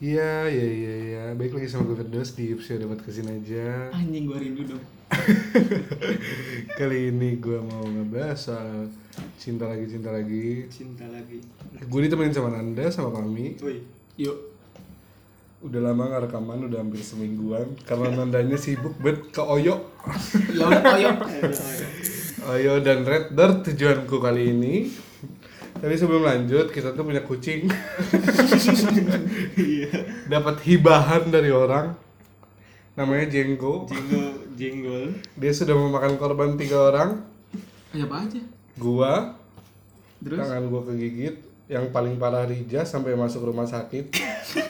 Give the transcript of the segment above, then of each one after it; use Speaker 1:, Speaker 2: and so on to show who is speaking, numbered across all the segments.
Speaker 1: Iya, iya, iya, iya. Baik lagi sama gue Firdaus di episode Dapat Kesin aja.
Speaker 2: Anjing gua rindu dong.
Speaker 1: Kali ini gue mau ngebahas soal cinta lagi, cinta lagi.
Speaker 2: Cinta lagi.
Speaker 1: Gue ditemenin sama Nanda, sama Pami.
Speaker 2: Woi, yuk.
Speaker 1: Udah lama gak rekaman, udah hampir semingguan. Karena Nandanya sibuk banget ke Oyo.
Speaker 2: Ya udah koyok.
Speaker 1: Oyo dan Red Dirt tujuanku kali ini. Tapi sebelum lanjut, kita tuh punya kucing.
Speaker 2: Iya.
Speaker 1: Dapat hibahan dari orang. Namanya Jenggo.
Speaker 2: Jingle jingle.
Speaker 1: Dia sudah memakan korban tiga orang.
Speaker 2: Ya apa aja?
Speaker 1: Gua,
Speaker 2: Terus
Speaker 1: tangan gua kegigit yang paling parah Rija sampai masuk rumah sakit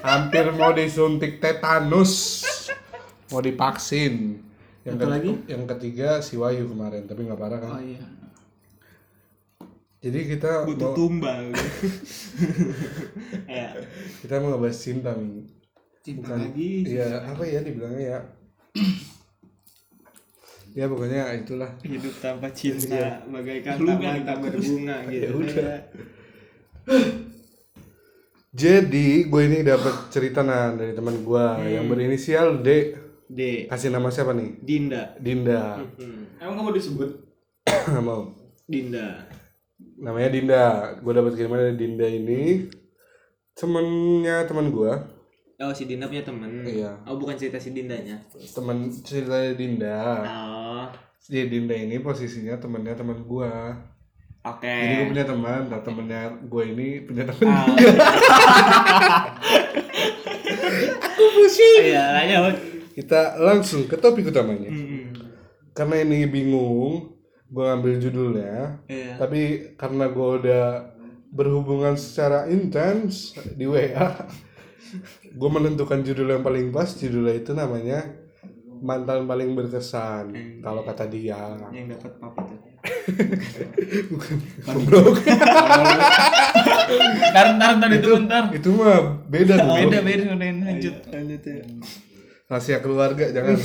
Speaker 1: hampir mau disuntik tetanus mau divaksin yang,
Speaker 2: Satu lagi?
Speaker 1: yang ketiga si Wayu kemarin tapi nggak parah kan
Speaker 2: Oh iya.
Speaker 1: jadi kita
Speaker 2: Butuh
Speaker 1: mau,
Speaker 2: tumbal. ya.
Speaker 1: kita mau ngebahas cinta Mi.
Speaker 2: Cinta
Speaker 1: bukan
Speaker 2: lagi.
Speaker 1: ya apa ya dibilangnya ya ya pokoknya itulah
Speaker 2: Hidup tanpa cinta bagaikan taman tak berbunga gitu.
Speaker 1: udah. jadi gue ini dapat cerita nah dari teman gue
Speaker 2: Hmm.
Speaker 1: yang berinisial D
Speaker 2: D.
Speaker 1: kasih nama siapa nih
Speaker 2: Dinda.
Speaker 1: Dinda
Speaker 2: Hmm. Emang kamu disebut
Speaker 1: nggak mau
Speaker 2: Dinda?
Speaker 1: namanya Dinda gue dapat kiriman dari Dinda ini temennya teman gue
Speaker 2: Oh si Dinda punya temen
Speaker 1: Iya.
Speaker 2: Oh bukan cerita si Dindanya
Speaker 1: teman ceritanya Dinda
Speaker 2: Oh
Speaker 1: jadi Dinda ini posisinya temennya teman gue
Speaker 2: Oke
Speaker 1: jadi gue punya teman nah temennya gue ini punya teman
Speaker 3: Ah.
Speaker 2: Iya lanjut
Speaker 1: kita langsung ke topik utamanya karena ini bingung gue ngambil judulnya
Speaker 2: Iya
Speaker 1: tapi karena gue udah berhubungan secara intens di WA gue menentukan judul yang paling pas judulnya itu namanya mantan paling berkesan kalau kata dia
Speaker 2: Yang dapat papa tuh
Speaker 1: Goblok.
Speaker 2: Ntar ntar ntar itu bentar
Speaker 1: itu mah beda tuh
Speaker 2: Beda beda udahin lanjut Lanjut ya
Speaker 1: rahasia keluarga jangan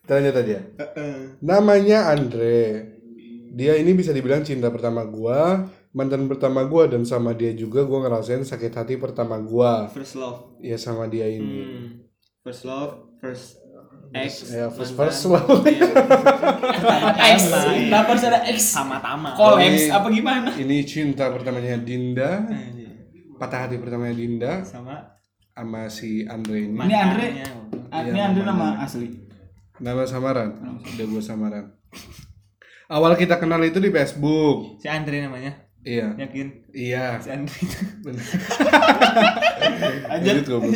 Speaker 1: Kita lanjut aja namanya Andre dia ini bisa dibilang cinta pertama gua mantan pertama gua dan sama dia juga gua ngerasain sakit hati pertama gua
Speaker 2: First love
Speaker 1: ya sama dia ini
Speaker 2: Hmm. First love First
Speaker 3: Hmm,
Speaker 2: X
Speaker 1: ya first
Speaker 2: mantan.
Speaker 1: first love
Speaker 3: X, kenapa harus ada X?
Speaker 2: Sama-tama
Speaker 3: Collapse
Speaker 1: Ini-
Speaker 3: Oh, apa gimana?
Speaker 1: ini cinta pertamanya Dinda patah hati pertamanya Dinda
Speaker 2: Sama
Speaker 1: sama si Andre ini
Speaker 3: Ini Andre,
Speaker 2: Mantannya. Iya,
Speaker 3: ah, ini Andre nama asli.
Speaker 1: nama samaran udah gua samaran awal kita kenal itu di Facebook
Speaker 2: Si Andre namanya
Speaker 1: iya
Speaker 2: Yakin
Speaker 3: Ya.
Speaker 1: iya
Speaker 2: Si Andre itu
Speaker 1: Bener. Lanjut, goblok.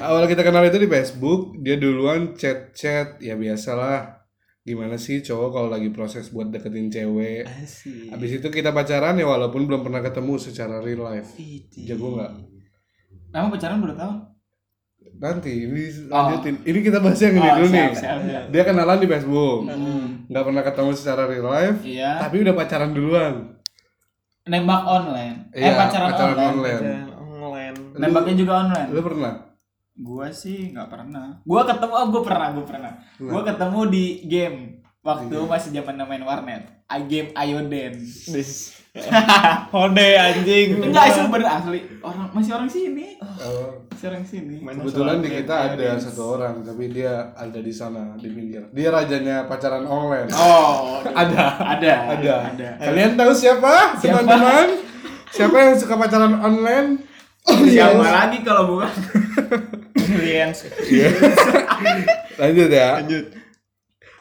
Speaker 1: Awal kita kenal itu di Facebook, dia duluan chat-chat, ya biasalah. Gimana sih cowok kalau lagi proses buat deketin cewek?
Speaker 2: Asik
Speaker 1: Habis itu kita pacaran ya walaupun belum pernah ketemu secara real life. Jago nggak?
Speaker 3: Kamu pacaran berapa tahun?
Speaker 1: Nanti ini lanjutin. Ini kita bahas yang ini dulu nih. Dia kenalan di Facebook,
Speaker 2: Hmm.
Speaker 1: nggak pernah ketemu secara real life,
Speaker 3: Iya.
Speaker 1: tapi udah pacaran duluan.
Speaker 3: Nembak online. eh
Speaker 1: Iya,
Speaker 3: pacaran,
Speaker 1: pacaran
Speaker 3: online.
Speaker 1: online.
Speaker 2: Ada Online
Speaker 3: Nembaknya juga online.
Speaker 1: Lu pernah?
Speaker 3: Gua sih nggak pernah. Gua ketemu, oh, gua pernah, gua pernah. Gua ketemu di game waktu masih zaman main warnet. A game Ayoden.
Speaker 1: Iya.
Speaker 2: Hode anjing
Speaker 3: Enggak, itu bener asli. Orang masih orang sini.
Speaker 1: Oh.
Speaker 3: Masih orang sini.
Speaker 1: Kebetulan di kita ada satu orang, tapi dia ada di sana di pinggir. Dia rajanya pacaran online.
Speaker 3: Oh,
Speaker 1: Ada,
Speaker 3: ada.
Speaker 1: ada, Kalian tahu siapa, teman-teman? Siapa yang suka pacaran online?
Speaker 4: Iya.
Speaker 3: Siapa lagi kalau bukan?
Speaker 2: Yang
Speaker 1: Iya. Lanjut ya.
Speaker 2: lanjut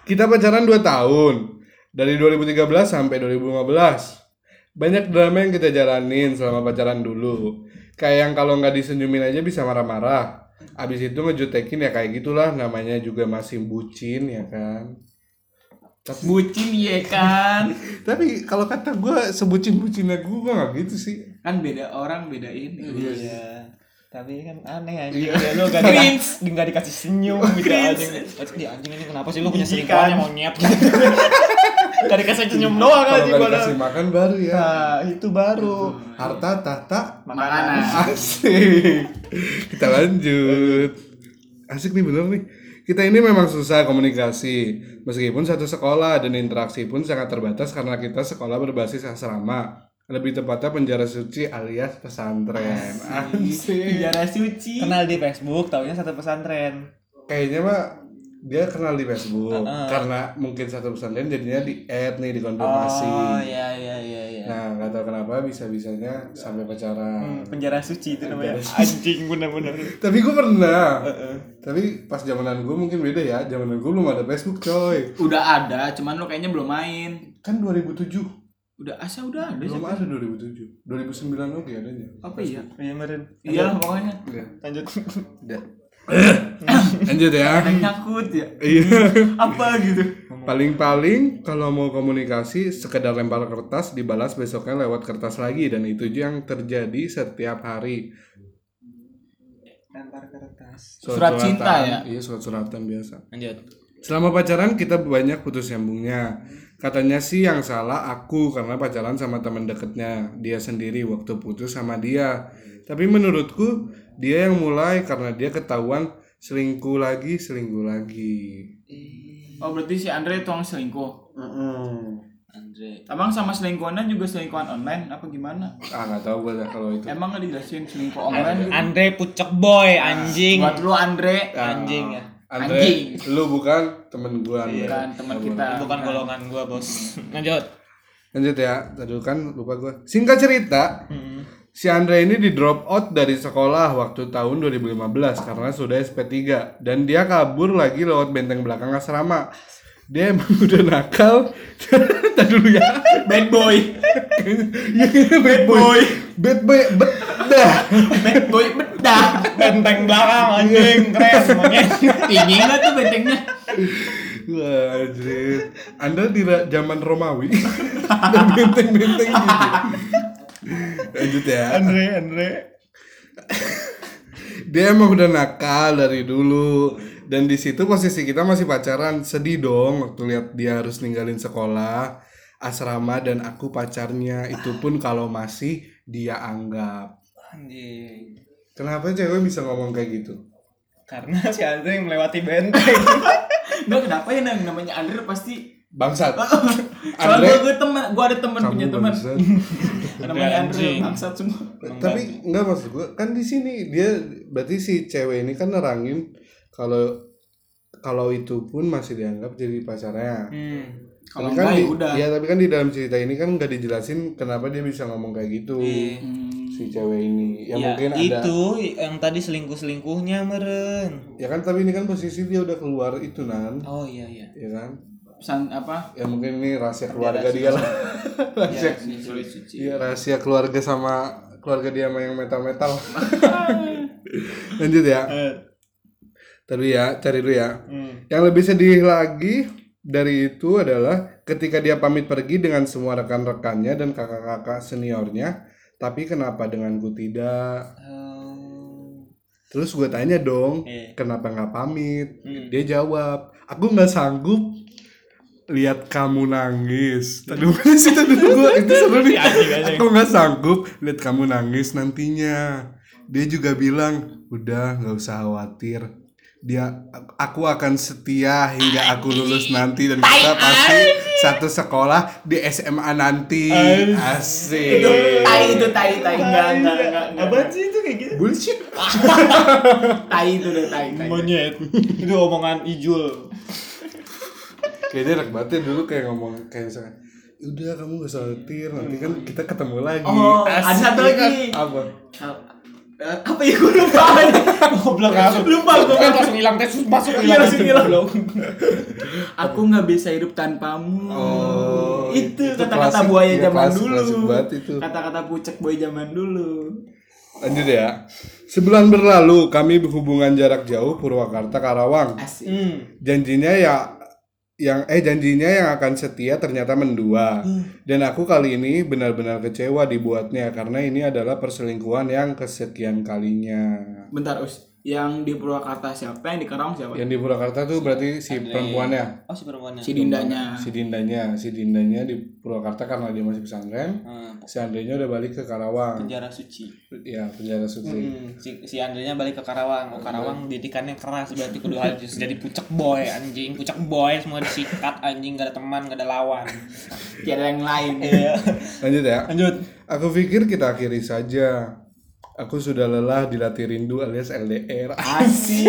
Speaker 1: Kita pacaran 2 tahun. Dari 2013 sampai 2015. Banyak drama yang kita jalanin selama pacaran dulu. Kayak yang kalau nggak disenyumin aja bisa marah-marah. Abis itu ngejutekin ya kayak gitulah namanya juga masih bucin ya kan.
Speaker 3: Bucin ya kan?
Speaker 1: Tapi kalau kata gue sebucin-bucinnya gue gue gak gitu sih.
Speaker 3: kan beda orang beda ini. Iya.
Speaker 2: Iya. Tapi kan aneh anjing. Ya lu gak, di,
Speaker 3: Cringe.
Speaker 2: gak dikasih senyum gitu anjing. Anjing anjing ini kenapa sih lu punya selingkuhan
Speaker 3: Jijikan.
Speaker 2: yang mau nyet gitu. gak dikasih senyum doang
Speaker 1: Kalau
Speaker 2: anjing
Speaker 1: nggak
Speaker 2: padahal.
Speaker 1: dikasih makan baru ya.
Speaker 2: Nah, itu baru.
Speaker 1: Harta tahta
Speaker 3: Makanan.
Speaker 1: asik. Kita lanjut. Asik nih bener nih. Kita ini memang susah komunikasi. Meskipun satu sekolah dan interaksi pun sangat terbatas karena kita sekolah berbasis asrama. lebih tepatnya penjara suci alias pesantren Asik.
Speaker 3: Penjara Iya. suci.
Speaker 4: Kenal di Facebook, taunya satu pesantren.
Speaker 1: kayaknya mah dia kenal di Facebook karena mungkin satu pesantren jadinya di add nih dikonfirmasi
Speaker 4: Oh iya iya iya iya. Hmm.
Speaker 1: nah nggak tahu kenapa bisa bisanya sampai pacaran
Speaker 4: Penjara suci itu namanya. Anjing bener-bener.
Speaker 1: tapi gue pernah tapi pas zamanan gue mungkin beda ya zamanan gue belum ada Facebook coy
Speaker 3: Udah ada, cuman lo kayaknya belum main.
Speaker 1: kan 2007
Speaker 3: Udah asa udah ada.
Speaker 1: belum ada 2007 2009 oke adanya
Speaker 3: Iya, Apa iya?
Speaker 4: Iya meren.
Speaker 3: Iyalah pokoknya.
Speaker 4: Lanjut.
Speaker 1: lanjut ya
Speaker 3: Ada yang nyakut ya.
Speaker 1: iya
Speaker 3: Apa gitu.
Speaker 1: Paling-paling kalau mau komunikasi sekedar lempar kertas dibalas besoknya lewat kertas lagi dan itu yang terjadi setiap hari.
Speaker 4: Lempar kertas.
Speaker 3: Surat
Speaker 1: Surat-suratan.
Speaker 3: cinta ya?
Speaker 1: Iya surat suratan biasa.
Speaker 4: Lanjut.
Speaker 1: Selama pacaran kita banyak putus nyambungnya. Katanya sih yang salah aku karena pacaran sama teman deketnya. Dia sendiri waktu putus sama dia. Tapi menurutku dia yang mulai karena dia ketahuan selingkuh lagi, selingkuh lagi.
Speaker 3: Oh berarti si Andre tuang selingkuh.
Speaker 4: Andre.
Speaker 3: Abang sama selingkuhannya juga selingkuhan online apa gimana?
Speaker 1: Ah nggak tahu gue dah kalau itu.
Speaker 3: Emang nggak dijelasin selingkuh online? gitu?
Speaker 4: Andre pucuk boy anjing.
Speaker 3: Buat lu Andre,
Speaker 4: Anjing ya.
Speaker 1: Andre,
Speaker 3: Anjing.
Speaker 1: lu bukan temen gua Andre.
Speaker 3: bukan teman kita.
Speaker 4: Bukan golongan gua, Bos. Lanjut.
Speaker 1: Lanjut ya, tadi dulu kan lupa gua. Singkat cerita, si Andre ini di drop out dari sekolah waktu tahun 2015 karena sudah SP3 dan dia kabur lagi lewat benteng belakang asrama. Dia emang udah nakal. Tadi dulu ya.
Speaker 3: Bad boy,
Speaker 1: bad boy. Bad boy. Bedah.
Speaker 3: bad boy bedak.
Speaker 4: Benteng belakang anjing keren monyet.
Speaker 3: Tinggi nggak tuh bentengnya?
Speaker 1: Wah, anjir. Anda di ra- zaman Romawi. Ada benteng-benteng gitu. Lanjut ya.
Speaker 4: Andre, Andre.
Speaker 1: dia emang udah nakal dari dulu dan di situ posisi kita masih pacaran sedih dong waktu lihat dia harus ninggalin sekolah asrama dan aku pacarnya itu pun kalau masih dia anggap
Speaker 4: Anjing.
Speaker 1: kenapa cewek bisa ngomong kayak gitu
Speaker 4: Karena si Andre yang melewati benteng.
Speaker 3: Nggak kenapa ya Nang? namanya Andre pasti.
Speaker 1: bangsat Andre-
Speaker 3: Soalnya gue teman, gue ada teman punya
Speaker 1: kamu
Speaker 3: teman.
Speaker 1: bangsat
Speaker 3: Namanya Andre
Speaker 4: Anjing.
Speaker 3: bangsat semua.
Speaker 1: tapi nggak maksud gue kan di sini dia berarti si cewek ini kan nerangin kalau kalau itu pun masih dianggap jadi pacarnya
Speaker 4: hmm.
Speaker 1: Tapi
Speaker 3: Kalau
Speaker 1: kan
Speaker 3: enggak
Speaker 1: di,
Speaker 3: ya udah.
Speaker 1: Iya, tapi kan di dalam cerita ini kan nggak dijelasin kenapa dia bisa ngomong kayak gitu.
Speaker 3: Iya.
Speaker 1: Si cewek ini. Ya,
Speaker 4: Ya,
Speaker 1: mungkin ada.
Speaker 4: itu yang tadi selingkuh-selingkuhnya meren.
Speaker 1: Ya kan tapi ini kan posisi dia udah keluar itu nan.
Speaker 4: Oh iya iya.
Speaker 1: Ya kan?
Speaker 3: Pesan apa?
Speaker 1: Ya mungkin ini rahasia keluarga dia lah.
Speaker 3: Iya.
Speaker 1: rahasia.
Speaker 3: Sulit suci.
Speaker 1: Iya, rahasia keluarga sama keluarga dia sama yang metal-metal. Lanjut ya.
Speaker 3: Eh.
Speaker 1: Tadi ya, cari dulu ya.
Speaker 4: Hmm.
Speaker 1: Yang lebih sedih lagi dari itu adalah ketika dia pamit pergi dengan semua rekan-rekannya dan kakak-kakak seniornya, tapi kenapa denganku tidak? Terus gue tanya dong,
Speaker 4: Iya.
Speaker 1: kenapa nggak pamit?
Speaker 4: Hmm.
Speaker 1: Dia jawab, aku nggak sanggup lihat kamu nangis. Tadi mana sih tadi gue itu seru nih. Aku nggak sanggup lihat kamu nangis nantinya. Dia juga bilang, udah nggak usah khawatir. Dia, aku akan setia hingga aku lulus nanti dan kita pasti satu sekolah di SMA nanti. Asik.
Speaker 3: Tai itu tai tai enggak enggak enggak. enggak.
Speaker 4: Apaan sih itu kayak gitu?
Speaker 1: Bullshit.
Speaker 3: Tai itu deh tai tai.
Speaker 4: Monyet. itu omongan Ijul.
Speaker 1: kayaknya enak banget ya dulu kayak ngomong kayak misalkan udah kamu gak usah khawatir nanti kan kita ketemu lagi
Speaker 3: Oh, ada
Speaker 1: Asik
Speaker 3: satu
Speaker 1: ya kan?
Speaker 3: lagi.
Speaker 1: apa
Speaker 3: Eh, Apa ya gue lupa?
Speaker 4: Goblok aku.
Speaker 3: Lupa gue.
Speaker 4: Kan langsung hilang tes masuk
Speaker 3: Iya,
Speaker 4: hilang.
Speaker 3: langsung hilang. Aku nggak bisa hidup tanpamu.
Speaker 1: Oh,
Speaker 3: itu
Speaker 1: itu
Speaker 3: kata-kata
Speaker 1: klasik.
Speaker 3: buaya
Speaker 1: Iya,
Speaker 3: zaman
Speaker 1: klasik,
Speaker 3: dulu.
Speaker 1: klasik banget itu.
Speaker 3: Kata-kata pucek buaya zaman dulu.
Speaker 1: lanjut ya sebulan berlalu kami berhubungan jarak jauh Purwakarta Karawang
Speaker 3: Asik.
Speaker 4: Hmm.
Speaker 1: janjinya ya yang eh janjinya yang akan setia ternyata mendua
Speaker 3: Hmm.
Speaker 1: dan aku kali ini benar-benar kecewa dibuatnya karena ini adalah perselingkuhan yang kesekian kalinya
Speaker 3: Bentar, Us. yang di Purwakarta siapa yang di Karawang siapa
Speaker 4: Iya.
Speaker 1: Yang di Purwakarta tuh berarti si
Speaker 3: ya.
Speaker 1: ya? perempuannya,
Speaker 4: Oh si perempuannya.
Speaker 3: si Dindanya
Speaker 1: si Dindanya, si Dindanya di Purwakarta karena dia masih pesantren.
Speaker 4: Hmm,
Speaker 1: Si Andrenya udah balik ke Karawang.
Speaker 4: penjara suci.
Speaker 1: Ya, penjara suci.
Speaker 4: Hmm, si, si Andrenya balik ke Karawang. Oh, Karawang didikannya keras berarti kedua hal justru jadi pucak boy anjing, pucak boy semua disikat anjing gak ada teman, gak ada lawan.
Speaker 3: tiada yang lain
Speaker 1: Lanjut ya.
Speaker 4: Lanjut.
Speaker 1: Aku pikir kita akhiri saja. Aku sudah lelah dilatih rindu alias LDR.
Speaker 3: asik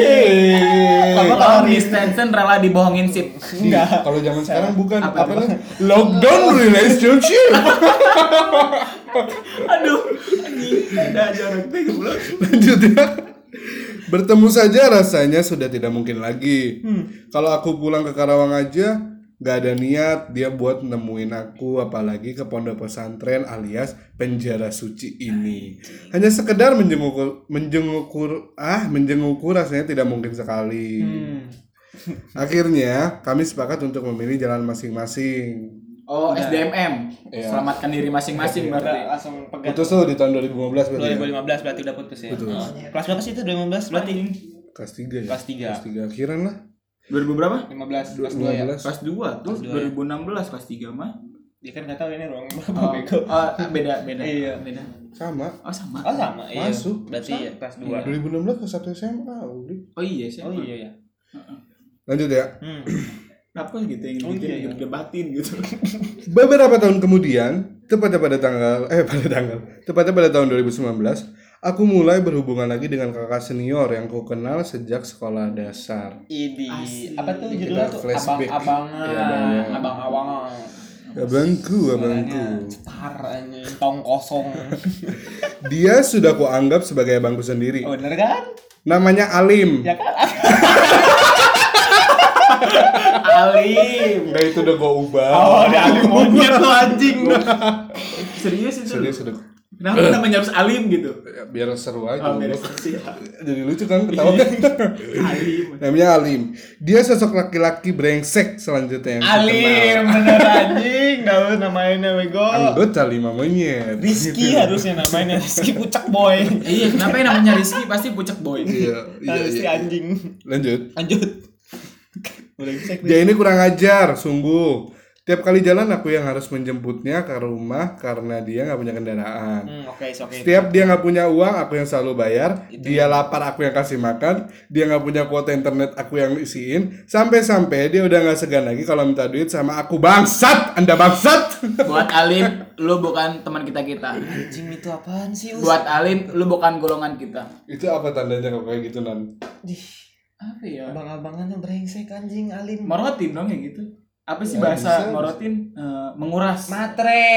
Speaker 3: kalau kalau Miss Tension rela dibohongin sip
Speaker 1: Enggak. Kalau zaman sekarang bukan
Speaker 3: Apa,
Speaker 1: apa,
Speaker 3: apa?
Speaker 1: namanya? Lockdown relationship.
Speaker 3: aduh anjing ada jorok tuh belum
Speaker 1: Lanjut ya. Bertemu saja rasanya sudah tidak mungkin lagi.
Speaker 4: Hmm.
Speaker 1: Kalau aku pulang ke Karawang aja nggak ada niat dia buat nemuin aku apalagi ke pondok pesantren alias penjara suci ini hanya sekedar menjenguk menjenguk ah menjengukku rasanya tidak mungkin sekali
Speaker 4: Hmm.
Speaker 1: akhirnya kami sepakat untuk memilih jalan masing-masing
Speaker 3: oh SDMM
Speaker 1: Iya.
Speaker 3: selamatkan diri masing-masing
Speaker 4: Iya.
Speaker 3: berarti
Speaker 4: langsung pegang.
Speaker 1: putus tuh di tahun 2015 berarti ya?
Speaker 4: 2015 berarti udah putus ya.
Speaker 1: Putus.
Speaker 4: Oh, Kelas berapa sih itu 2015 berarti?
Speaker 1: kelas 3 ya
Speaker 4: Kelas tiga.
Speaker 1: kelas 3 akhiran lah
Speaker 3: 2000 berapa
Speaker 4: 15 kelas 2 ya.
Speaker 1: 2015
Speaker 3: kelas 2 tuh
Speaker 4: Iya. Kelas dua,
Speaker 3: 2016 kelas 3 mah
Speaker 4: Dia kan enggak tahu ini ruang berapa
Speaker 3: oh,
Speaker 4: bego.
Speaker 3: oh, beda beda
Speaker 4: Iya.
Speaker 3: beda
Speaker 1: sama
Speaker 3: oh sama
Speaker 4: Oh sama, iya.
Speaker 1: Masuk.
Speaker 4: Berarti
Speaker 1: Sama.
Speaker 4: ya,
Speaker 1: 2016
Speaker 4: kelas 2.
Speaker 1: ke 1 SMA udah.
Speaker 3: oh iya sih
Speaker 4: Oh iya ya.
Speaker 1: lanjut ya
Speaker 4: Hmm.
Speaker 3: Kenapa gitu yang
Speaker 4: Oh,
Speaker 3: bikin
Speaker 4: iya, iya.
Speaker 3: debatin gitu
Speaker 1: Beberapa tahun kemudian, tepatnya pada tanggal eh pada tanggal, tepatnya pada tahun 2019, aku mulai berhubungan lagi dengan kakak senior yang ku kenal sejak sekolah dasar.
Speaker 4: Ini
Speaker 3: Asik.
Speaker 4: apa tuh
Speaker 1: Kita
Speaker 4: judulnya tuh?
Speaker 1: flashback.
Speaker 4: Abang-abangan.
Speaker 1: Iya, abangan.
Speaker 4: Abang-abangan.
Speaker 1: Abangku,
Speaker 4: Suaranya
Speaker 1: abangku.
Speaker 4: cetar anjing, tong kosong.
Speaker 1: Dia sudah kuanggap sebagai abangku sendiri.
Speaker 4: Oh, bener kan?
Speaker 1: Namanya Alim.
Speaker 4: Ya kan?
Speaker 3: Alim
Speaker 1: Udah itu udah gua ubah.
Speaker 4: Oh, udah alim monyet lo anjing.
Speaker 3: serius itu
Speaker 1: Serius udah.
Speaker 3: kenapa namanya harus Alim gitu
Speaker 1: Ya, biar seru aja.
Speaker 3: oh,
Speaker 1: Gua-
Speaker 3: beres Siap.
Speaker 1: Jadi lucu kan ketawa kan?
Speaker 3: Alim
Speaker 1: Namanya Alim. Dia sosok laki-laki brengsek selanjutnya yang ku
Speaker 4: Alim,
Speaker 1: kenal.
Speaker 4: bener anjing. Gak usah namainnya bego.
Speaker 1: Anggota lima monyet. iya.
Speaker 4: Rizky harusnya namainnya Rizky Pucak Boy.
Speaker 3: Eh, iya kenapa yang namanya Rizky pasti pucak boy
Speaker 1: Iya, iya,
Speaker 4: Rizky
Speaker 1: iya.
Speaker 4: anjing.
Speaker 1: Lanjut.
Speaker 4: Lanjut. Udah bisa
Speaker 1: Dia ini kurang ajar, sungguh. Tiap kali jalan aku yang harus menjemputnya ke rumah karena dia nggak punya kendaraan.
Speaker 4: Hmm, oke, it's oke.
Speaker 1: Setiap dia nggak punya uang, aku yang selalu bayar. Dia lapar, aku yang kasih makan. Dia nggak punya kuota internet, aku yang isiin. Sampai-sampai dia udah nggak segan lagi kalau minta duit sama aku bangsat. Anda bangsat.
Speaker 3: buat Alim lu bukan teman kita kita
Speaker 4: Anjing itu apaan sih? Us?
Speaker 3: buat Alim lu bukan golongan kita
Speaker 1: Itu apa tandanya kalau kayak gitu nan?
Speaker 4: Dih,
Speaker 3: apa ya
Speaker 4: abang-abangannya brengsek anjing Alim.
Speaker 3: morotin dong ya gitu apa sih
Speaker 1: Ya, bisa,
Speaker 3: bahasa
Speaker 1: bisa.
Speaker 3: morotin Eh, menguras
Speaker 4: Matre,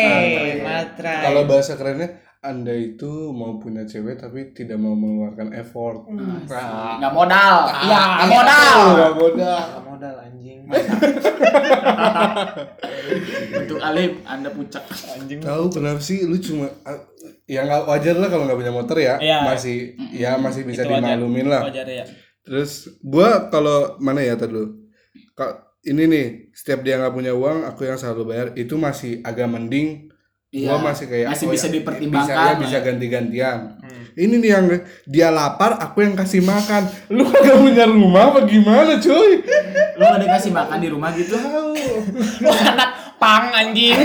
Speaker 4: matre.
Speaker 1: Kalau bahasa kerennya, anda itu mau punya cewek tapi tidak mau mengeluarkan effort. Nah,
Speaker 3: nggak modal
Speaker 4: Ya,
Speaker 3: nggak modal
Speaker 1: nggak modal.
Speaker 4: modal anjing.
Speaker 3: untuk Alim anda puncak
Speaker 4: Anjing.
Speaker 1: Tahu kenapa sih lu cuma a- ya nggak wajar lah kalau nggak punya motor ya
Speaker 4: Iya.
Speaker 1: masih ya masih bisa
Speaker 4: Itu wajar.
Speaker 1: dimaklumin lah.
Speaker 4: Wajar ya.
Speaker 1: Terus gua kalau mana ya tadi lu? Ka- ini nih setiap dia nggak punya uang aku yang selalu bayar itu masih agak mending. Gua masih kayak oh
Speaker 3: masih bisa
Speaker 1: ya, Bisa,
Speaker 3: dipertimbangkan
Speaker 1: ya,
Speaker 3: lah.
Speaker 1: bisa ganti-gantian. Ini nih yang dia lapar aku yang kasih makan. Lu kagak punya rumah apa gimana cuy?
Speaker 3: lu nggak dikasih makan di rumah gitu
Speaker 4: Lu anak pang anjing.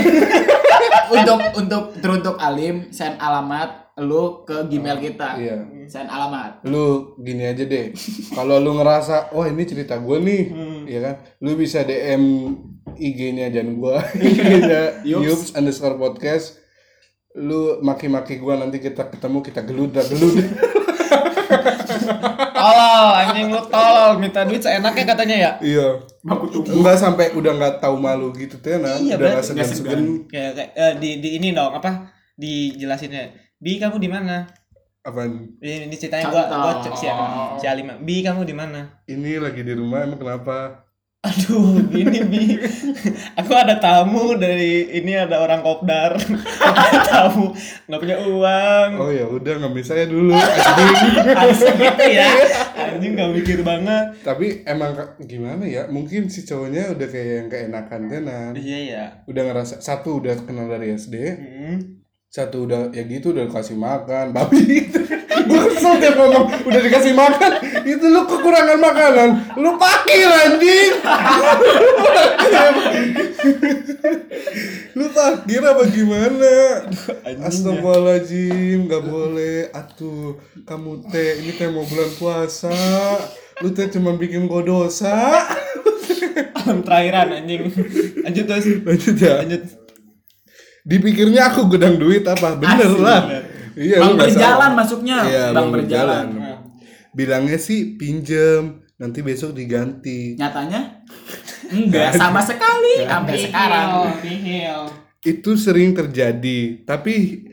Speaker 3: untuk untuk teruntuk Alim send alamat lu ke Gmail kita
Speaker 1: Iya.
Speaker 3: send alamat
Speaker 1: lu gini aja deh kalau lu ngerasa wah ini cerita gue nih ya kan lu bisa dm ig-nya jangan gue ig-nya Iya kan? yups underscore podcast lu maki-maki gue nanti kita ketemu kita geludah geludah
Speaker 4: Tolol, anjing lu tolol. Minta duit seenaknya katanya ya.
Speaker 1: iya
Speaker 3: bangku tubuh
Speaker 1: nggak sampai udah nggak tahu malu gitu tenan
Speaker 4: Iya,
Speaker 1: udah nggak
Speaker 4: berarti
Speaker 1: segan segan
Speaker 4: Kayak kayak eh, di di ini dong apa? Dijelasinnya. Bi kamu di mana?
Speaker 1: apaan
Speaker 4: Ini, ini ceritanya gua gua
Speaker 3: Contoh.
Speaker 4: cek si si Alima. Bi kamu di mana?
Speaker 1: ini lagi di rumah emang kenapa
Speaker 4: Aduh, gini Bi. Aku ada tamu dari ini ada orang kopdar. ada tamu nggak punya uang.
Speaker 1: oh ya udah ngemis saya dulu
Speaker 4: Harus gitu ya. Anjing gak mikir banget.
Speaker 1: tapi emang ka- gimana ya mungkin si cowoknya udah kayak yang keenakan tenan
Speaker 4: Iya ya.
Speaker 1: udah ngerasa satu udah kenal dari SD
Speaker 4: Hmm.
Speaker 1: satu udah ya gitu udah kasih makan babi gitu gue kesel tiap ngomong udah dikasih makan itu lu kekurangan makanan lu pakil anjing lu takdir apa gimana astagfirullahaladzim nggak boleh atuh kamu teh ini teh mau bulan puasa lu teh cuma bikin gua dosa
Speaker 4: Terakhiran anjing. Lanjut terus.
Speaker 1: lanjut ya
Speaker 4: Lanjut.
Speaker 1: dipikirnya aku gedang duit apa bener
Speaker 3: Asli,
Speaker 1: lah
Speaker 3: bener.
Speaker 1: iya
Speaker 3: Bang
Speaker 1: lu nggak
Speaker 3: berjalan
Speaker 1: salah.
Speaker 3: masuknya.
Speaker 1: iya,
Speaker 3: Bang berjalan.
Speaker 1: bilangnya sih pinjem nanti besok diganti
Speaker 3: Nyatanya enggak sama sekali sampai sekarang.
Speaker 4: Nihil.
Speaker 1: itu sering terjadi tapi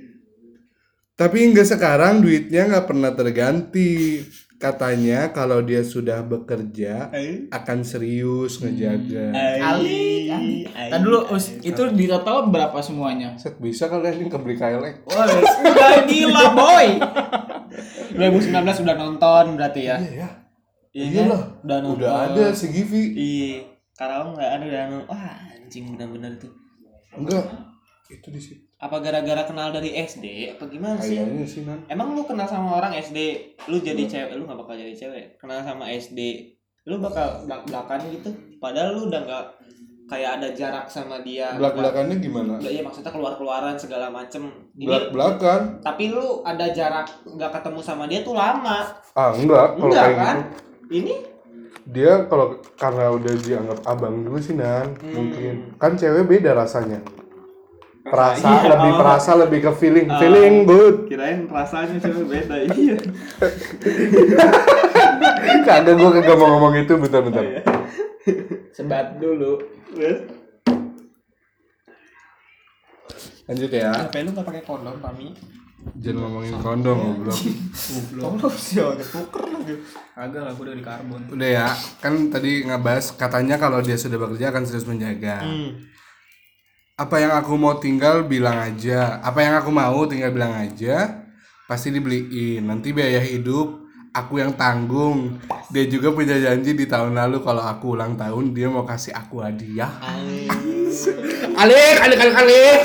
Speaker 1: tapi hingga sekarang duitnya nggak pernah terganti katanya kalau dia sudah bekerja
Speaker 4: Eh?
Speaker 1: akan serius
Speaker 4: Hmm.
Speaker 1: ngejaga
Speaker 3: Kali, kali. Tadi dulu Us, itu di total berapa semuanya?
Speaker 1: Set, bisa kalian ini kebeli KLX
Speaker 3: Wah, udah gila boy.
Speaker 4: 2019 udah nonton berarti ya.
Speaker 1: iya ya
Speaker 4: Iya kan?
Speaker 1: lah
Speaker 4: Udah nonton.
Speaker 1: udah ada si Givi
Speaker 4: Iya. Karawang nggak ada udah nonton. Wah anjing benar-benar itu.
Speaker 1: enggak itu di situ
Speaker 4: Apa gara-gara kenal dari SD? Apa gimana Kan sih?
Speaker 1: kayaknya sih nan
Speaker 4: Emang lu kenal sama orang SD, lu jadi cewek, lu gak bakal jadi cewek. Kenal sama SD, lu bakal belak belakan gitu. Padahal lu udah gak kayak ada jarak sama dia.
Speaker 1: belak belakannya gimana
Speaker 4: Nggak, iya maksudnya keluar keluaran segala macem. Ini,
Speaker 1: belak belakan
Speaker 4: tapi lu ada jarak nggak ketemu sama dia tuh lama.
Speaker 1: ah enggak kalau
Speaker 4: Enggak
Speaker 1: kayak
Speaker 4: kan?
Speaker 1: gitu
Speaker 4: Ini
Speaker 1: dia kalau karena udah dianggap abang dulu sih nan
Speaker 4: Hmm.
Speaker 1: mungkin kan cewek beda rasanya perasa
Speaker 3: Iya,
Speaker 1: lebih
Speaker 3: oh.
Speaker 1: perasa lebih ke feeling
Speaker 4: Ah.
Speaker 1: feeling good
Speaker 2: Kirain rasanya cuma beda. Iya.
Speaker 1: kagak gue kagak mau ngomong itu bentar bentar
Speaker 4: Oh, iya.
Speaker 3: Sebat dulu.
Speaker 2: Terus
Speaker 1: lanjut ya
Speaker 4: sampai lu gak pakai kondom, Pami.
Speaker 1: jangan ngomongin kondom goblok
Speaker 3: Tolong sih, ada poker lagi. Agak lah, gue udah di karbon.
Speaker 1: udah ya kan tadi ngebahas katanya kalau dia sudah bekerja akan serius menjaga
Speaker 4: Hmm.
Speaker 1: apa yang aku mau tinggal bilang aja apa yang aku mau tinggal bilang aja pasti dibeliin nanti biaya hidup aku yang tanggung dia juga punya janji di tahun lalu kalau aku ulang tahun dia mau kasih aku hadiah alik alik alik alik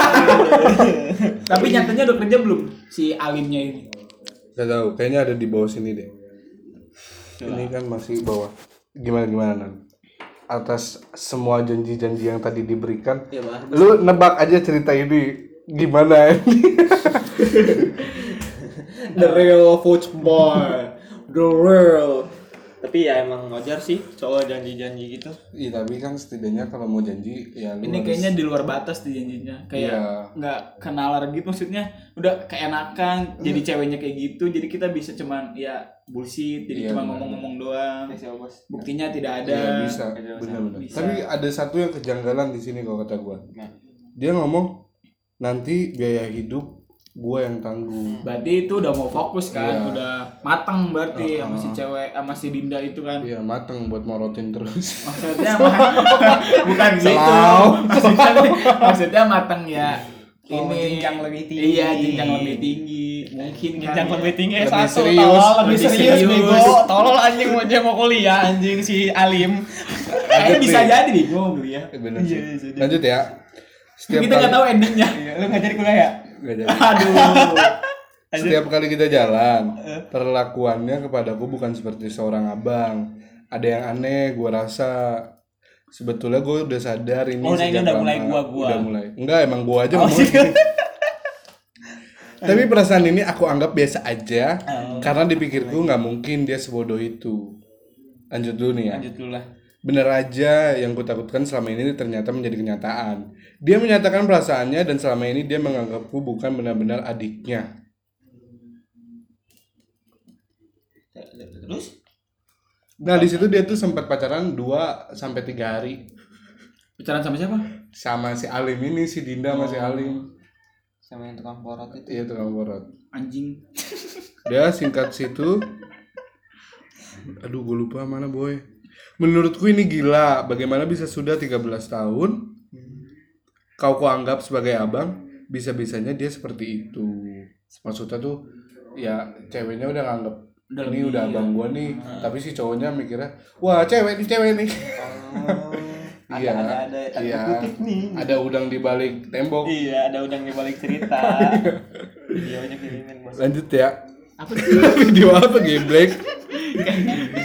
Speaker 3: Tapi nyatanya udah kerja belum si alimnya ini?
Speaker 1: Gak tahu kayaknya ada di bawah sini deh ini kan masih bawah gimana gimana Nan? atas semua janji-janji yang tadi diberikan
Speaker 4: Ya bah.
Speaker 1: lu nebak aja cerita ini gimana ini
Speaker 3: The real football. The real.
Speaker 4: Tapi ya emang wajar sih cowok janji-janji gitu.
Speaker 1: Iya tapi kan setidaknya kalau mau janji ya lu
Speaker 3: Ini kayaknya di luar batas di
Speaker 1: Iya.
Speaker 3: janjinya. Kayak nggak kenalar gitu maksudnya. Udah keenakan jadi
Speaker 1: Mm.
Speaker 3: ceweknya kayak gitu. Jadi kita bisa cuman ya bullshit,
Speaker 1: Iya,
Speaker 3: jadi cuma
Speaker 1: benar.
Speaker 3: ngomong-ngomong doang.
Speaker 4: Iya, bos.
Speaker 3: Buktinya tidak ada.
Speaker 1: Iya, bisa
Speaker 4: Ada-
Speaker 1: benar-benar.
Speaker 3: bisa.
Speaker 1: Tapi ada satu yang kejanggalan di sini kalau kata gua.
Speaker 4: Nah.
Speaker 1: Dia ngomong nanti biaya hidup gua yang tanggung.
Speaker 3: Berarti itu udah mau fokus kan,
Speaker 1: Iya.
Speaker 3: udah matang berarti
Speaker 1: Uh-uh.
Speaker 3: sama si cewek sama si Dinda itu kan.
Speaker 1: Iya mateng buat morotin terus.
Speaker 3: Maksudnya mah- bukan gitu.
Speaker 1: Selau.
Speaker 3: Maksudnya, maksudnya matang ya.
Speaker 4: Oh,
Speaker 3: ini
Speaker 4: jenjang lebih tinggi.
Speaker 3: Iya, jenjang lebih tinggi. Mungkin
Speaker 4: Jenjang
Speaker 3: kan,
Speaker 4: lebih
Speaker 3: ya.
Speaker 4: tinggi
Speaker 1: Lebih
Speaker 4: S1
Speaker 1: serius.
Speaker 4: tolol, lebih,
Speaker 3: Lebih
Speaker 4: serius,
Speaker 3: serius.
Speaker 4: bego tolol anjing mau dia mau kuliah anjing si Alim
Speaker 3: Kayaknya bisa
Speaker 1: nih.
Speaker 3: jadi nih gua beli ya.
Speaker 1: Eh, Bener sih. Lanjut ya. Setiap
Speaker 3: Kita nggak tahu endingnya.
Speaker 4: lu nggak jadi kuliah ya
Speaker 1: Nggak jadi.
Speaker 3: Aduh.
Speaker 1: Setiap kali kita jalan,
Speaker 4: Eh.
Speaker 1: perlakuannya kepadaku bukan seperti seorang abang. Ada yang aneh, gua rasa sebetulnya gue udah sadar ini.
Speaker 4: Oh, nah ini
Speaker 1: sejak
Speaker 4: udah mulai Oh,
Speaker 1: lama.
Speaker 4: gua-gua.
Speaker 1: Udah mulai. Enggak, emang gua aja ngomong.
Speaker 4: iya.
Speaker 1: Tapi perasaan ini aku anggap biasa aja
Speaker 4: Oh.
Speaker 1: karena dipikirku nggak mungkin dia sebodoh itu. Lanjut dulu nih ya.
Speaker 4: lanjut dulu lah
Speaker 1: Bener aja yang kutakutkan selama ini ternyata menjadi kenyataan. Dia menyatakan perasaannya dan selama ini dia menganggapku bukan benar-benar adiknya.
Speaker 4: terus
Speaker 1: Nah di situ dia tuh sempat pacaran 2 sampai tiga hari
Speaker 3: Bicara sama siapa?
Speaker 1: sama si Alim ini si Dinda sama si
Speaker 3: Oh.
Speaker 1: Alim
Speaker 4: sama yang tukang porot itu
Speaker 1: iya tukang borot.
Speaker 3: Anjing.
Speaker 1: Dia Ya, singkat situ. Aduh gue lupa mana boy. Menurutku ini gila. Bagaimana bisa sudah 13 tahun kau kuanggap sebagai abang bisa-bisanya dia seperti itu. Maksudnya tuh ya ceweknya udah nganggep ini
Speaker 3: Udah lebih,
Speaker 4: ya." Hmm.
Speaker 1: udah abang gua nih, tapi si cowoknya mikirnya, wah cewek nih cewek nih.
Speaker 4: ada
Speaker 1: Iya.
Speaker 4: Oh. ada ada tanda
Speaker 1: Iya.
Speaker 4: kutip nih
Speaker 1: Ada udang di balik tembok.
Speaker 4: iya ada udang di balik cerita iya banyak kirimin bos
Speaker 1: Lanjut ya.
Speaker 3: Apa sih?
Speaker 1: Video apa geblek?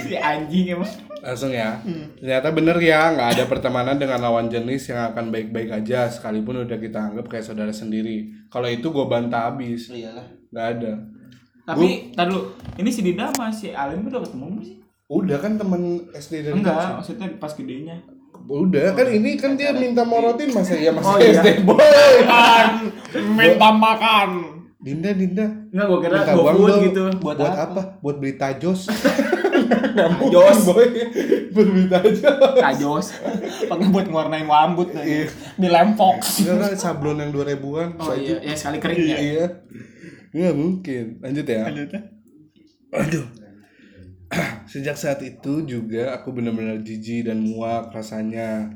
Speaker 3: si anjing emang.
Speaker 1: Langsung ya.
Speaker 3: Hmm.
Speaker 1: Ternyata bener ya, nggak ada pertemanan dengan lawan jenis yang akan baik-baik aja sekalipun udah kita anggap kayak saudara sendiri. Kalau itu gue bantah abis.
Speaker 4: iyalah
Speaker 1: Nggak ada.
Speaker 3: Tapi tar dulu, ini si Dinda sama si Alim udah ketemu belum sih?
Speaker 1: Udah kan temen SD dari kecil.
Speaker 3: Enggak, maksudnya pas gedenya.
Speaker 1: Udah kan ini kan dia minta morotin masa ya masa
Speaker 3: Oh, iya.
Speaker 1: SD boy.
Speaker 2: Minta makan.
Speaker 1: Dinda Dinda
Speaker 3: Enggak gua kira
Speaker 1: minta
Speaker 3: gua
Speaker 1: uang
Speaker 3: food
Speaker 1: dong.
Speaker 3: gitu.
Speaker 1: Buat,
Speaker 4: Buat
Speaker 1: apa?
Speaker 4: apa?
Speaker 1: Buat beli tajos. tajos boy. Buat beli tajos.
Speaker 3: Tajos.
Speaker 4: pakai buat ngewarnain rambut lagi
Speaker 1: Iya.
Speaker 4: dilempok
Speaker 1: Enggak kan sablon yang 2000-an.
Speaker 3: Oh
Speaker 1: baju.
Speaker 3: iya, ya sekali kering ya.
Speaker 1: Iya. Nggak mungkin. Lanjut ya. Aduh. Sejak saat itu juga aku benar-benar jijik dan muak rasanya.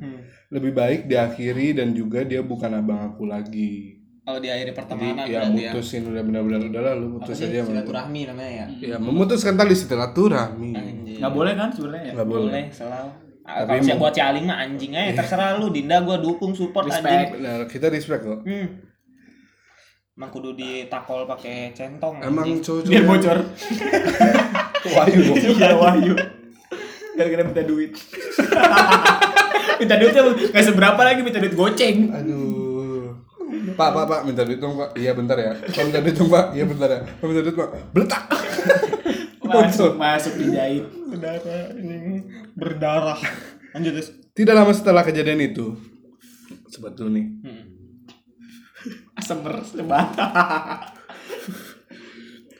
Speaker 1: Lebih baik diakhiri dan juga dia bukan abang aku lagi.
Speaker 4: oh di akhir
Speaker 1: Jadi
Speaker 4: pertemanan
Speaker 1: ya
Speaker 4: berarti ya
Speaker 1: mutusin udah benar-benar udahlah lu
Speaker 4: apa
Speaker 1: putus
Speaker 4: sih
Speaker 1: aja sama gua.
Speaker 4: silaturahmi namanya ya
Speaker 1: Ya, memutuskan tali silaturahmi.
Speaker 4: Anjing.
Speaker 3: Enggak boleh kan sebenarnya ya?
Speaker 1: Enggak boleh.
Speaker 4: boleh selalu
Speaker 1: Tapi
Speaker 4: kalau sih buat si Aling mah anjing aja terserah lu Dinda gua dukung support
Speaker 3: Respect.
Speaker 4: anjing
Speaker 1: Benar, kita respect kok.
Speaker 4: hmm. Emang kudu ditakol pakai centong
Speaker 1: Emang
Speaker 4: anjing.
Speaker 1: cowok-cowok
Speaker 3: Biar bocor.
Speaker 1: Wahyu bocor.
Speaker 3: Iya, wahyu. Gara-gara minta duit. minta duitnya nggak seberapa lagi minta duit goceng.
Speaker 1: Aduh. Pak, pak, pak, minta duit dong, Pak. Iya, bentar ya. Pak, minta duit dong, Pak. Iya, bentar ya. Pak, minta duit, Pak. Beletak.
Speaker 3: Masuk masuk dijahit.
Speaker 4: berdarah anjing. berdarah lanjut terus
Speaker 1: Tidak lama setelah kejadian itu, sebetulnya nih.
Speaker 4: Hmm,
Speaker 3: Semer sebata.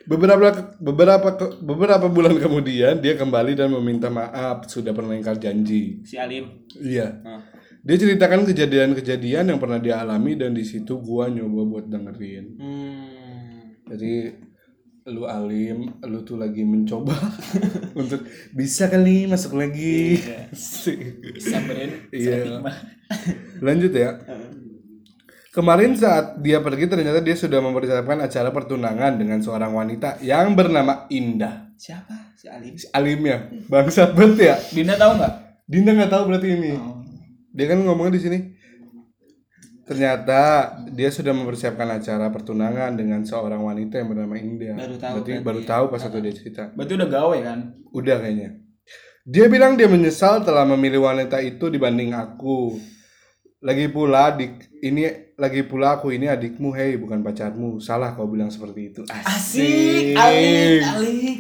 Speaker 1: Beberapa beberapa beberapa bulan kemudian dia kembali dan meminta maaf sudah pernah ingkar janji.
Speaker 4: si Alim
Speaker 1: Iya.
Speaker 4: Nah.
Speaker 1: Dia ceritakan kejadian-kejadian yang pernah dia alami dan di situ gua nyoba buat dengerin.
Speaker 4: hmm.
Speaker 1: Jadi lu alim, lu tuh lagi mencoba untuk bisa kali masuk lagi.
Speaker 3: Samberin.
Speaker 1: Iya. Lanjut ya. Kemarin saat dia pergi ternyata dia sudah mempersiapkan acara pertunangan dengan seorang wanita yang bernama Indah.
Speaker 4: siapa si Alim
Speaker 1: Si Alimnya, bangsat banget ya.
Speaker 3: Dinda tahu nggak?
Speaker 1: Dinda nggak tahu berarti ini.
Speaker 4: Oh.
Speaker 1: Dia kan ngomongnya di sini. Ternyata dia sudah mempersiapkan acara pertunangan dengan seorang wanita yang bernama Indah.
Speaker 4: Baru tahu
Speaker 1: berarti
Speaker 4: berarti
Speaker 1: baru
Speaker 4: ya.
Speaker 1: tahu pas satu dia cerita.
Speaker 3: Berarti udah gawe kan?
Speaker 1: Udah kayaknya. Dia bilang dia menyesal telah memilih wanita itu dibanding aku. Lagi pula adik ini lagi pula aku ini adikmu, hei bukan pacarmu. Salah kau bilang seperti itu.
Speaker 3: Asik, alik, alik.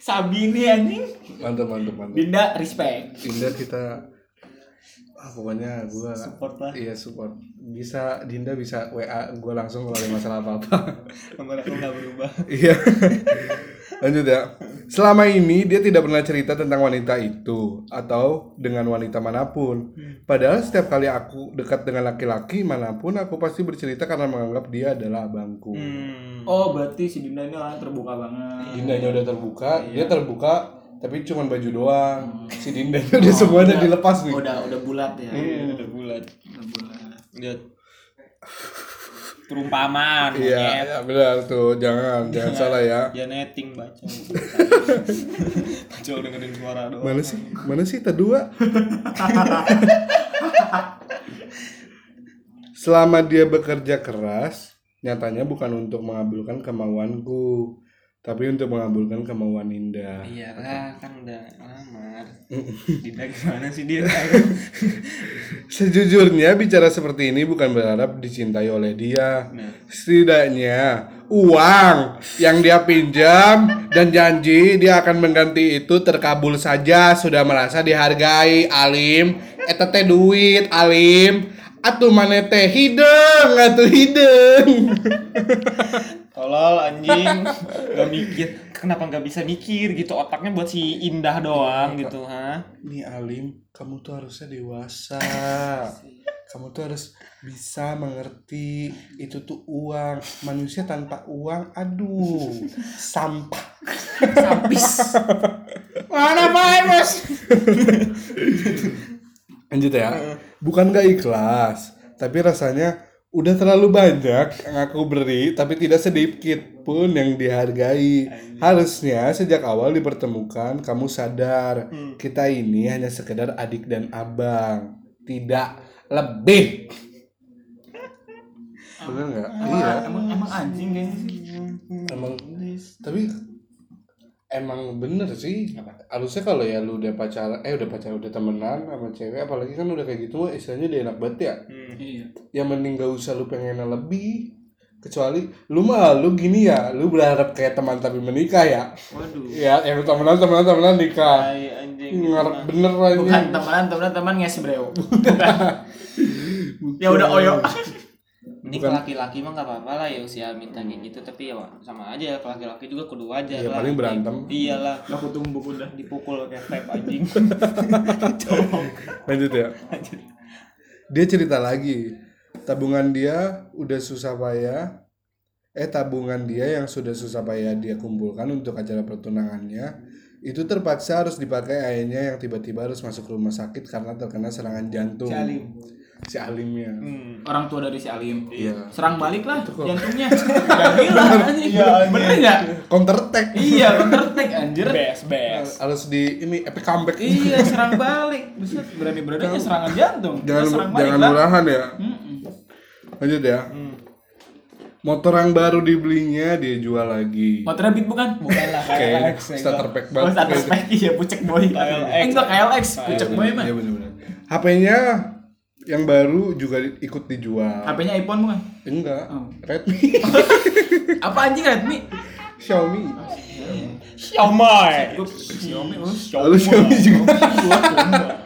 Speaker 3: Sabini anjing.
Speaker 1: Mantap, mantap, mantap.
Speaker 3: Dinda respect.
Speaker 1: Dinda kita ah, pokoknya gua
Speaker 4: support lah
Speaker 1: iya support. Bisa Dinda bisa WA gua langsung kalau ada masalah apa-apa.
Speaker 4: nomor aku nggak berubah
Speaker 1: Iya. Lanjut ya. Selama ini dia tidak pernah cerita tentang wanita itu atau dengan wanita manapun. Padahal setiap kali aku dekat dengan laki-laki manapun aku pasti bercerita karena menganggap dia adalah abangku.
Speaker 4: hmm.
Speaker 3: Oh berarti si Dinda ini orang terbuka banget.
Speaker 1: Dindanya udah terbuka, dia terbuka tapi cuman baju doang. Si dindanya udah semuanya dilepas nih.
Speaker 3: Udah udah bulat ya.
Speaker 4: Iya, udah bulat
Speaker 3: Udah bulat.
Speaker 4: lihat perumpamaan
Speaker 1: Iya,
Speaker 4: monyet.
Speaker 1: iya, benar tuh. Jangan, jangan salah ya.
Speaker 4: ya netting baca baca dengerin suara doang
Speaker 1: Mana sih? Mana sih terdua? Selama dia bekerja keras, nyatanya bukan untuk mengabulkan kemauanku, tapi untuk mengabulkan kemauan Indah.
Speaker 4: iyalah kan udah lamar Dinda gimana sih dia
Speaker 1: Sejujurnya bicara seperti ini bukan berharap dicintai oleh dia.
Speaker 4: Nah,
Speaker 1: Setidaknya uang yang dia pinjam dan janji dia akan mengganti itu terkabul saja sudah merasa dihargai alim eta teh duit alim atuh mana teh hidung atuh hidung
Speaker 4: tolol anjing gak mikir kenapa nggak bisa mikir gitu otaknya buat si indah doang
Speaker 1: Iya.
Speaker 4: gitu ha
Speaker 1: nih alim kamu tuh harusnya dewasa kamu tuh harus bisa mengerti itu tuh uang manusia tanpa uang aduh sampah
Speaker 3: Sampis.
Speaker 4: mana main mas
Speaker 1: lanjut ya bukan gak ikhlas tapi rasanya udah terlalu banyak yang aku beri tapi tidak sedikit pun yang dihargai harusnya sejak awal dipertemukan kamu sadar kita ini hanya sekedar adik dan abang tidak lebih. Bener nggak?
Speaker 3: Emang,
Speaker 1: Iya.
Speaker 3: Ya, emang, emang anjing kayaknya sih.
Speaker 1: Emang tapi emang bener sih. Harusnya kalau ya lu udah pacaran, eh udah pacaran udah temenan sama cewek, apalagi kan udah kayak gitu, istilahnya dia enak banget ya.
Speaker 3: Iya.
Speaker 1: Ya mending gak usah lu pengen yang lebih. Kecuali lu mah lu gini ya, lu berharap kayak teman tapi menikah ya.
Speaker 4: Waduh.
Speaker 1: Ya, yang temenan temenan temenan nikah.
Speaker 4: Tai anjing.
Speaker 1: Ngarep bener lah ini.
Speaker 3: Iya. Bukan temenan, temenan, teman nges breo. Bukan. ya udah oyo.
Speaker 4: Ini ke laki-laki mah gak apa-apa lah ya usia minta kayak gitu tapi ya Wak, sama aja ke laki-laki juga kudu wajar
Speaker 1: Iya,
Speaker 4: lah.
Speaker 1: paling berantem.
Speaker 4: Iyalah
Speaker 3: Aku tumbuk udah.
Speaker 4: dipukul kayak vape anjing.
Speaker 1: Lanjut ya. Dia cerita lagi. Tabungan dia udah susah payah. Eh tabungan dia yang sudah susah payah dia kumpulkan untuk acara pertunangannya itu terpaksa harus dipakai ayahnya yang tiba-tiba harus masuk rumah sakit karena terkena serangan jantung.
Speaker 3: Si Alim.
Speaker 1: Si Alimnya.
Speaker 4: Hmm.
Speaker 3: Orang tua dari si Alim.
Speaker 1: Iya.
Speaker 3: Serang balik lah jantungnya. Udah gila Iya, anjing. Bener nggak?
Speaker 1: Counter attack.
Speaker 3: Iya, bener tek anjir.
Speaker 4: Best best.
Speaker 1: Harus di ini epic comeback.
Speaker 3: Iya, serang balik. Buset, berani-beraninya serangan jantung. Kita
Speaker 1: Jangan
Speaker 3: serang balik
Speaker 1: jangan
Speaker 3: lah. Hmm.
Speaker 1: murahan ya.
Speaker 3: Mm-mm.
Speaker 1: Lanjut ya. Motor yang baru dibelinya dia jual lagi.
Speaker 3: Motornya beat bukan? Bukan lah.
Speaker 1: Kayak gitu. starter pack
Speaker 3: Oh,
Speaker 1: banget.
Speaker 3: status pack iya pucek boy. Eh, enggak KLX, pucek boy mah.
Speaker 1: Iya benar-benar. HP-nya yang baru juga di- ikut dijual.
Speaker 3: HP-nya iPhone bukan?
Speaker 1: Enggak,
Speaker 3: Oh.
Speaker 1: Redmi,
Speaker 3: Apa anjing Redmi?
Speaker 1: Xiaomi.
Speaker 4: Xiaomai.
Speaker 3: Xiaomi. oh.
Speaker 1: Lalu Xiaomi juga.
Speaker 3: Gua gombal.